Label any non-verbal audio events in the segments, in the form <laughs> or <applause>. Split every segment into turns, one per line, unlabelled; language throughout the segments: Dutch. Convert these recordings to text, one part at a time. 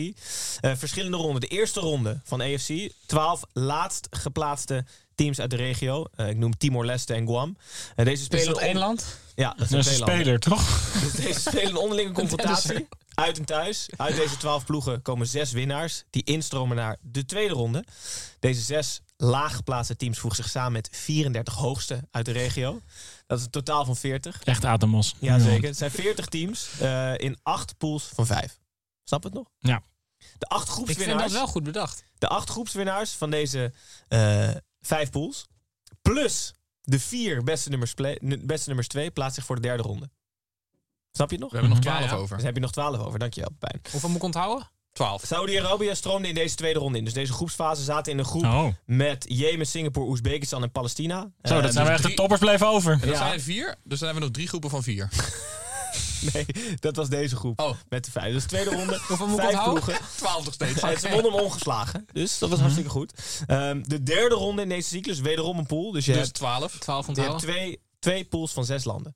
Eh, verschillende ronden. De eerste ronde van AFC. Twaalf laatst geplaatste teams uit de regio. Eh, ik noem Timor-Leste en Guam. Eh, deze spelen
Is dat
on-
één land?
ja, dat
Dat
zijn
is een
twee
speler,
landen.
toch?
Dus deze spelen een
<laughs>
onderlinge confrontatie. Uit en thuis. Uit deze twaalf ploegen komen zes winnaars. Die instromen naar de tweede ronde. Deze zes laag geplaatste teams voegen zich samen met 34 hoogste uit de regio. Dat is een totaal van 40.
Echt Atemos.
Jazeker. Het zijn 40 teams eh, in acht pools van vijf. Snap het nog?
Ja.
De acht
Ik vind dat
groepswinnaars,
wel goed bedacht.
de acht groepswinnaars van deze eh, vijf pools. Plus de vier beste nummers, play- nu- beste nummers twee plaatsen zich voor de derde ronde. Snap je het nog?
We hebben nog
Ja,
12
ja.
over. Dus
Dus heb je nog 12 over, dankjewel Pijn.
Hoeveel moet ik onthouden?
12.
Saudi-Arabië stroomde in deze tweede ronde in. Dus deze groepsfase zaten in een groep
Oh.
met Jemen, Singapore, Oezbekistan en Palestina.
Zo,
Eh,
dat zijn we echt de toppers blijven over.
En dat
Ja.
zijn er vier, dus dan hebben we nog drie groepen van vier.
<laughs> Nee, dat was deze groep
Oh.
met de vijf. Dus tweede ronde,
Hoeveel moet ik
vijf
onthouden?
ploegen. Eh,
12 nog steeds.
Ja, Het is een om ongeslagen, dus dat was hartstikke goed. Ehm, de derde ronde in deze cyclus, wederom een pool. Dus je
Dus
hebt,
12.
12
je hebt
onthouden.
twee, twee pools van zes landen.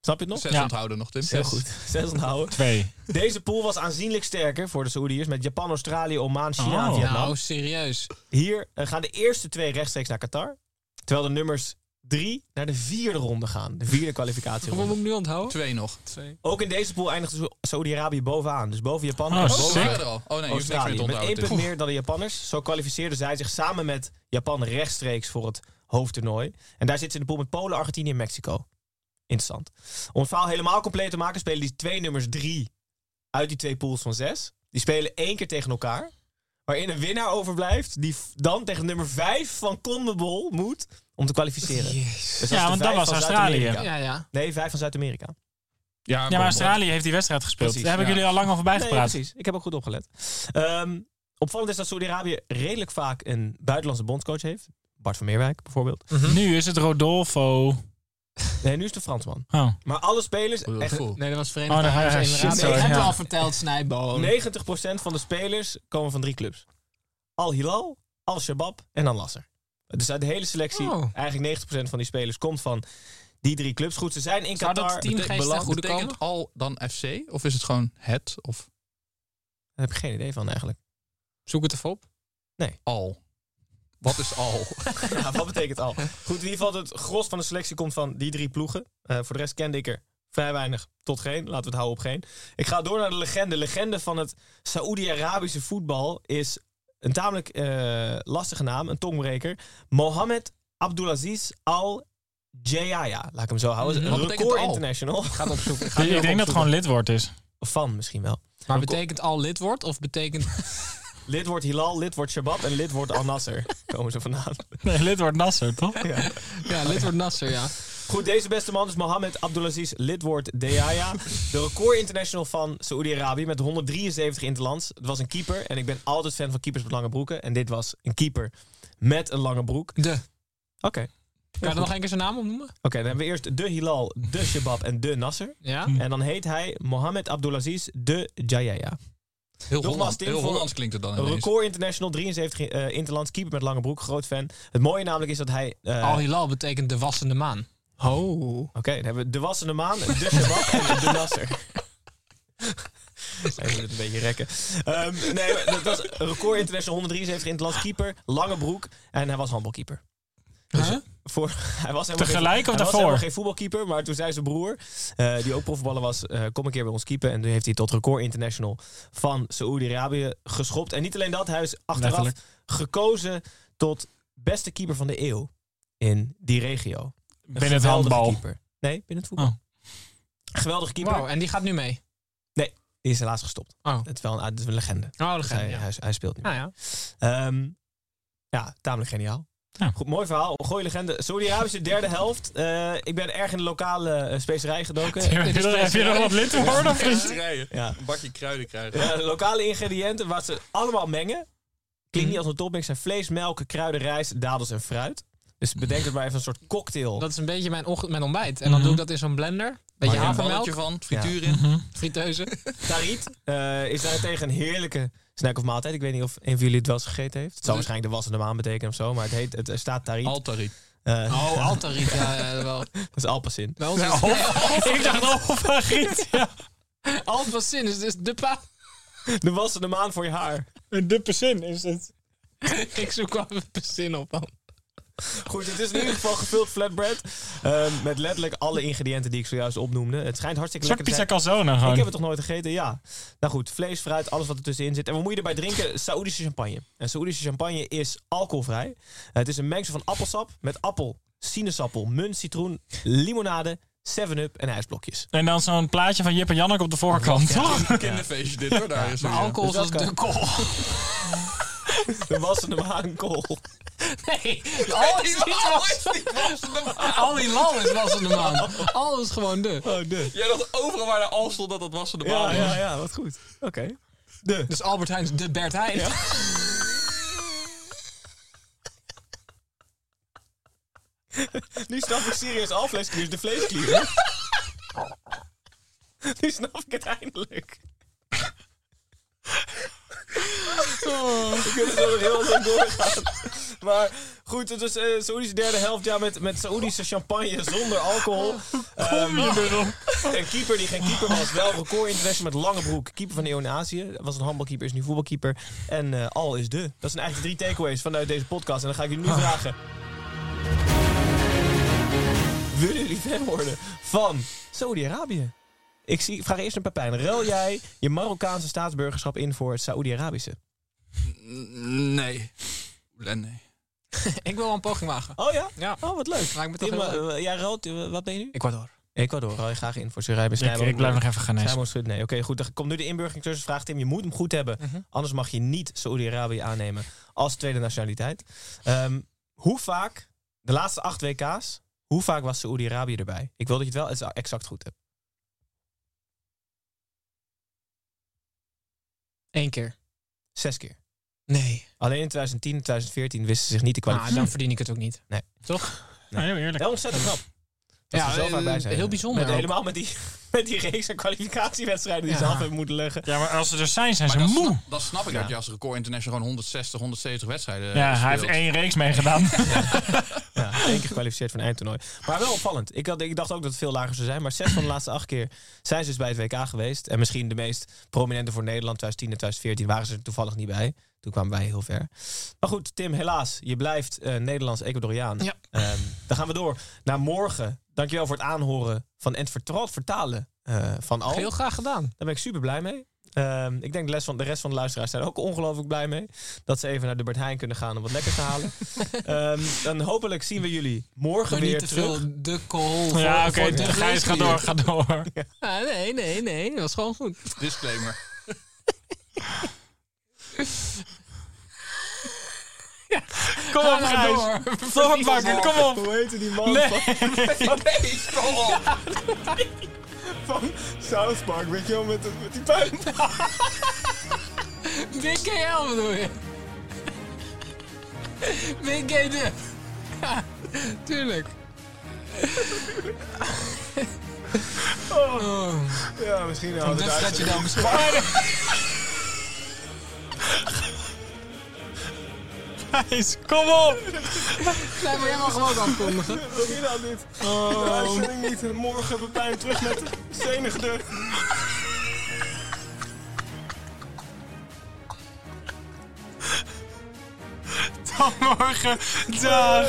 Snap je het nog?
Zes
Ja.
onthouden nog, Tim.
Heel goed. Zes onthouden.
Twee.
Deze pool was aanzienlijk sterker voor de Saoediërs met Japan, Australië, Oman, China en
Oh.
Vietnam.
Nou, serieus.
Hier eh, gaan de eerste twee rechtstreeks naar Qatar. Terwijl de nummers drie naar de vierde ronde gaan. De vierde
Hoeveel moet <laughs>
kwalificatieronde.
ik nu onthouden?
Twee nog.
Ook in deze pool eindigde Sa- Saoedi-Arabië bovenaan. Dus boven Japan
Oh,
en
Oh,
Sick.
we
boven
waren er al. Oh nee, je hoeft niks meer
Australië.
te
Met één
onthouden.
punt
Tim.
meer dan de Japanners. Zo kwalificeerden zij zich samen met Japan rechtstreeks voor het hoofdtoernooi. En daar zitten ze in de pool met Polen, Argentinië en Mexico. Interessant. Om het verhaal helemaal compleet te maken spelen die twee nummers drie uit die twee pools van zes. Die spelen één keer tegen elkaar. waarin een winnaar overblijft, die f- dan tegen nummer 5 van CONMEBOL moet om te kwalificeren. Dus dat is
Ja,
de
want dat
vijf
was
van
Australië.
Zuid-Amerika.
Ja, ja.
Nee, 5 van Zuid-Amerika.
Ja, maar Australië heeft die wedstrijd gespeeld.
Precies,
Daar hebben
ja.
jullie al lang al voorbij
Nee,
gepraat.
precies. Ik heb ook goed opgelet. Ehm, opvallend is dat Saudi-Arabië redelijk vaak een buitenlandse bondscoach heeft. Bart van Meerwijk bijvoorbeeld.
Hm.
Nu is het Rodolfo.
Nee, nu is het de Fransman.
Oh.
Maar alle spelers, echt
Nee, dat was Verenigd
Oh, daar ga je-
Arabische
shit,
Emiraten.
sorry,
Ik heb
ja.
het al verteld, Snijboon.
90% van de spelers komen van drie clubs. Al Hilal, Al Shabab en Al Nasser. Dus uit de hele selectie,
Oh.
eigenlijk 90% van die spelers komt van die drie clubs. Goed, ze zijn in
Zou dat
Qatar.
team
Betek-
geen
beland-
slecht goede
betekent-
komen?
Al dan FC? Of is het gewoon het? Of
Daar heb ik geen idee van eigenlijk.
Zoek het even op.
al? Wat is <laughs> al?
<laughs> Ja, wat betekent al? Goed, in ieder geval het gros van de selectie komt van die drie ploegen. Eh, voor de rest kende ik er vrij weinig tot geen. Laten we het houden op geen. Ik ga door naar de legende. Legende van het Saoedi-Arabische voetbal is een tamelijk eh, lastige naam, een tongbreker. Mohammed Abdulaziz Al Jayaya. Laat ik hem zo houden.
Mhm.
Een
Mm, Wat betekent
record
al?
international.
Ga
<laughs>
het opzoeken. Ik ga het
Ik denk dat het
opzoeken.
gewoon lidwoord is.
Van misschien wel.
Maar betekent al lid wordt of betekent...
Lid wordt Hilal, lid wordt Shabab en lid wordt Al
<laughs>
Nasser. Komen ze vandaan.
Nee, lidwoord Nasser, toch?
Ja, lid wordt Nasser, ja.
Goed, deze beste man is Mohammed Abdulaziz, lidwoord Deaya. De record international van Saoedi-Arabië met 173 interlands. Het was een keeper en ik ben altijd fan van keepers met lange broeken. En dit was een keeper met een lange broek.
De. Kan
Oké,
je er nog één keer zijn naam opnoemen?
Oké, dan hebben we eerst de Hilal, de Shabab en de Nasser.
Ja.
En dan heet hij Mohammed Abdulaziz de Jayaya.
Heel, Holland,
Tim,
heel
voor-
Hollands klinkt het dan
Een
ineens.
record international, 73 eh, interlands, keeper met lange broek, groot fan. Het mooie namelijk is dat hij... eh,
Al Hilal betekent de wassende maan. Oh.
Oké, dan hebben we de wassende maan, de shabab en de nasser.
<laughs>
Even het een beetje rekken. Ehm, nee, maar dat was record international 173 in het land keeper, lange broek en hij was handbalkeeper.
Huh?
Voor, hij was helemaal
Tegelijk
geen,
of
hij was
daarvoor?
helemaal geen voetbalkeeper, maar toen zei zijn broer, eh, die ook profvoetballer was, eh, kom een keer bij ons keeper. En toen heeft hij tot record international van Saoedi-Arabië geschopt. En niet alleen dat, hij is achteraf
Letterlijk.
gekozen tot beste keeper van de eeuw in die regio. Een
Binnen het
geweldige
handbal.
Keeper. Nee, binnen het voetbal.
Oh.
Geweldige keeper.
Wow, en die gaat nu mee.
Die is helaas gestopt.
Oh.
Het is wel een, het is een legende.
Oh, dat
Dus
gaat
hij,
ja.
hij, hij speelt nu.
Nou ja.
Ehm, ja, tamelijk geniaal.
Ja.
Goed, mooi verhaal. Goeie legende. Saudi-Arabische derde helft. Eh, ik ben erg in de lokale eh, specerij <laughs> gedoken.
Heb je er- heb je er wat lidwoorden of niet?
Ja.
Een bakje kruiden krijgen.
Ja, de lokale ingrediënten waar ze allemaal mengen. Klinkt niet als een topmix. Zijn vlees, melk, kruiden, rijst, dadels en fruit. Dus bedenk het maar even een soort cocktail.
Dat is een beetje mijn, ochtend, mijn ontbijt. En dan
Mhm.
doe ik dat in zo'n blender.
Maak
Beetje
er een balletje
havermelk,
van, frituur in.
friteuze.
Tariet eh, is daarentegen een heerlijke snack of maaltijd. Ik weet niet of een van jullie het wel eens gegeten heeft. Het zou waarschijnlijk de wassende maan betekenen of zo. Maar het, heet, het eh, staat tariet.
Altari.
Eh,
Oh, altariet. Ja, ja, wel.
<laughs> dat is alpacin.
Bij ons is
Ik dacht, oh, van Giet. Ja.
Alpacin is dus de pa.
De wassende maan voor je haar.
Een duppe zin is het.
<laughs> Ik zoek wel even de zin op. man.
Goed, het is in ieder geval gevuld flatbread. ehm, met letterlijk alle ingrediënten die ik zojuist opnoemde. Het schijnt hartstikke
Een soort
lekker te
pizza
zijn.
calzone
Ik heb
gewoon.
het toch nooit gegeten? Ja. Nou goed, vlees, fruit, alles wat er tussenin zit. En wat moet je erbij drinken? Saoedische champagne. En Saoedische champagne is alcoholvrij. Het is een mengsel van appelsap met appel, sinaasappel, munt, citroen, limonade, 7-up en ijsblokjes.
En dan zo'n plaatje van Jip en Janneke op de voorkant, toch?
Kinderfeestje dit hoor, daar is
Maar
weer.
alcohol is
Dus
als
dat
de kool.
De wassende maankool.
<laughs> Nee, al is niet was. Al die lal is wassende maan. Al is gewoon de.
Oh, de.
Jij dacht overal waar de al stond dat dat was van de
Ja,
baan.
ja, ja, wat goed. Oké. De.
Dus Albert Heijn is de Bert Heijn.
<laughs> Nu snap ik serieus alvleesklier is de vleesklier. <laughs> nu snap ik het eindelijk. We kunnen zo nog heel lang doorgaan. Maar goed, het is eh Saoedische derde helft ja, met, met Saoedische champagne zonder alcohol. Ehm, een keeper die geen keeper was, wel record international met lange broek. Keeper van de eeuw in Azië. Was een handbalkeeper, is nu voetbalkeeper. En eh, al is de. Dat zijn eigenlijk drie takeaways vanuit deze podcast. En dan ga ik jullie nu vragen. Willen jullie fan worden van Saudi-Arabië? Ik zie, vraag eerst een Pepijn. Ruil jij je Marokkaanse staatsburgerschap in voor het Saoedi-Arabische?
Nee. Oeh, Nee.
<laughs> Ik wil wel een poging wagen.
Oh ja?
Ja.
Oh, wat leuk.
Maakt me toch
Tim,
heel
eh, jij ruilt, eh, wat ben je nu?
Ecuador.
Ecuador, hou je graag in voor zijn rijbewijs.
Ik, ik blijf nog even gaan
Simon
nezen.
Schutt, nee. Oké, goed. Dan komt nu de inburgeringscursusvraag, Tim. Je moet hem goed hebben. Anders mag je niet Saoedi-Arabië aannemen als tweede nationaliteit. Ehm, hoe vaak, de laatste acht WK's, hoe vaak was Saoedi-Arabië erbij? Ik wil dat je het wel exact goed hebt.
Eén keer.
Zes keer.
Nee.
Alleen in 2010 en 2014 wisten ze zich niet te
Ah,
kwalificeren.
dan verdien ik het ook niet.
Nee.
Toch?
Nou, heel eerlijk.
Wel ontzettend knap. Dat
Ja,
ze zo vaak bij
eh,
zijn.
heel bijzonder
Met,
ook.
helemaal met die, <laughs> met die reeks aan kwalificatiewedstrijden die ze
Ja.
af hebben moeten leggen.
Ja, maar als ze er zijn, zijn
Maar
ze
dat
moe.
snap, dat snap ik dat je als record international gewoon 160, 170 wedstrijden
ja,
eh,
hij heeft
speelt.
één reeks <laughs> meegedaan.
Ja, één keer gekwalificeerd voor een eindtoernooi. Maar wel opvallend. Ik, had, ik dacht ook dat het veel lager zou zijn. Maar zes van de laatste acht keer zijn ze dus bij het WK geweest. En misschien de meest prominente voor Nederland 2010 en 2014 waren ze er toevallig niet bij. Toen kwamen wij heel ver. Maar goed, Tim, helaas. Je blijft eh, Nederlands-Ecuadoriaan.
Ja.
Ehm, dan gaan we door naar morgen. Dankjewel voor het aanhoren van en het vertrouwd vertalen eh, van al.
Heel graag gedaan.
Daar ben ik super blij mee. Ehm, ik denk de, les van, de rest van de luisteraars zijn er ook ongelooflijk blij mee. Dat ze even naar de Bert Heijn kunnen gaan om wat lekker te
<laughs>
halen. Ehm, dan hopelijk zien we jullie morgen
Maar
weer
niet te
terug.
veel de kool. voor-
ja, oké.
voor de
Gijs, ga
whisky.
door, ga door.
Ah, nee, nee, nee. Dat was gewoon goed.
Disclaimer.
Kom op,
Ga
Gijs.
Ah, door.
Voortbakken, kom op.
Hoe heette die man van,
Nee, kom op.
van South Park? Weet je wel, met, dat- met die puin.
Big K L bedoel je? <laughs> Big K de. <laughs> Ja, tuurlijk.
Ja, Nou, misschien wel.
Oh,
Dus dat je
<laughs>
dan bespaard.
Gijs, kom op.
Nee, maar jij mag hem ook afkondigen.
Misschien al dit. De uitzending niet. Morgen Pepijn terug met zenigde.
Tot morgen. Dag.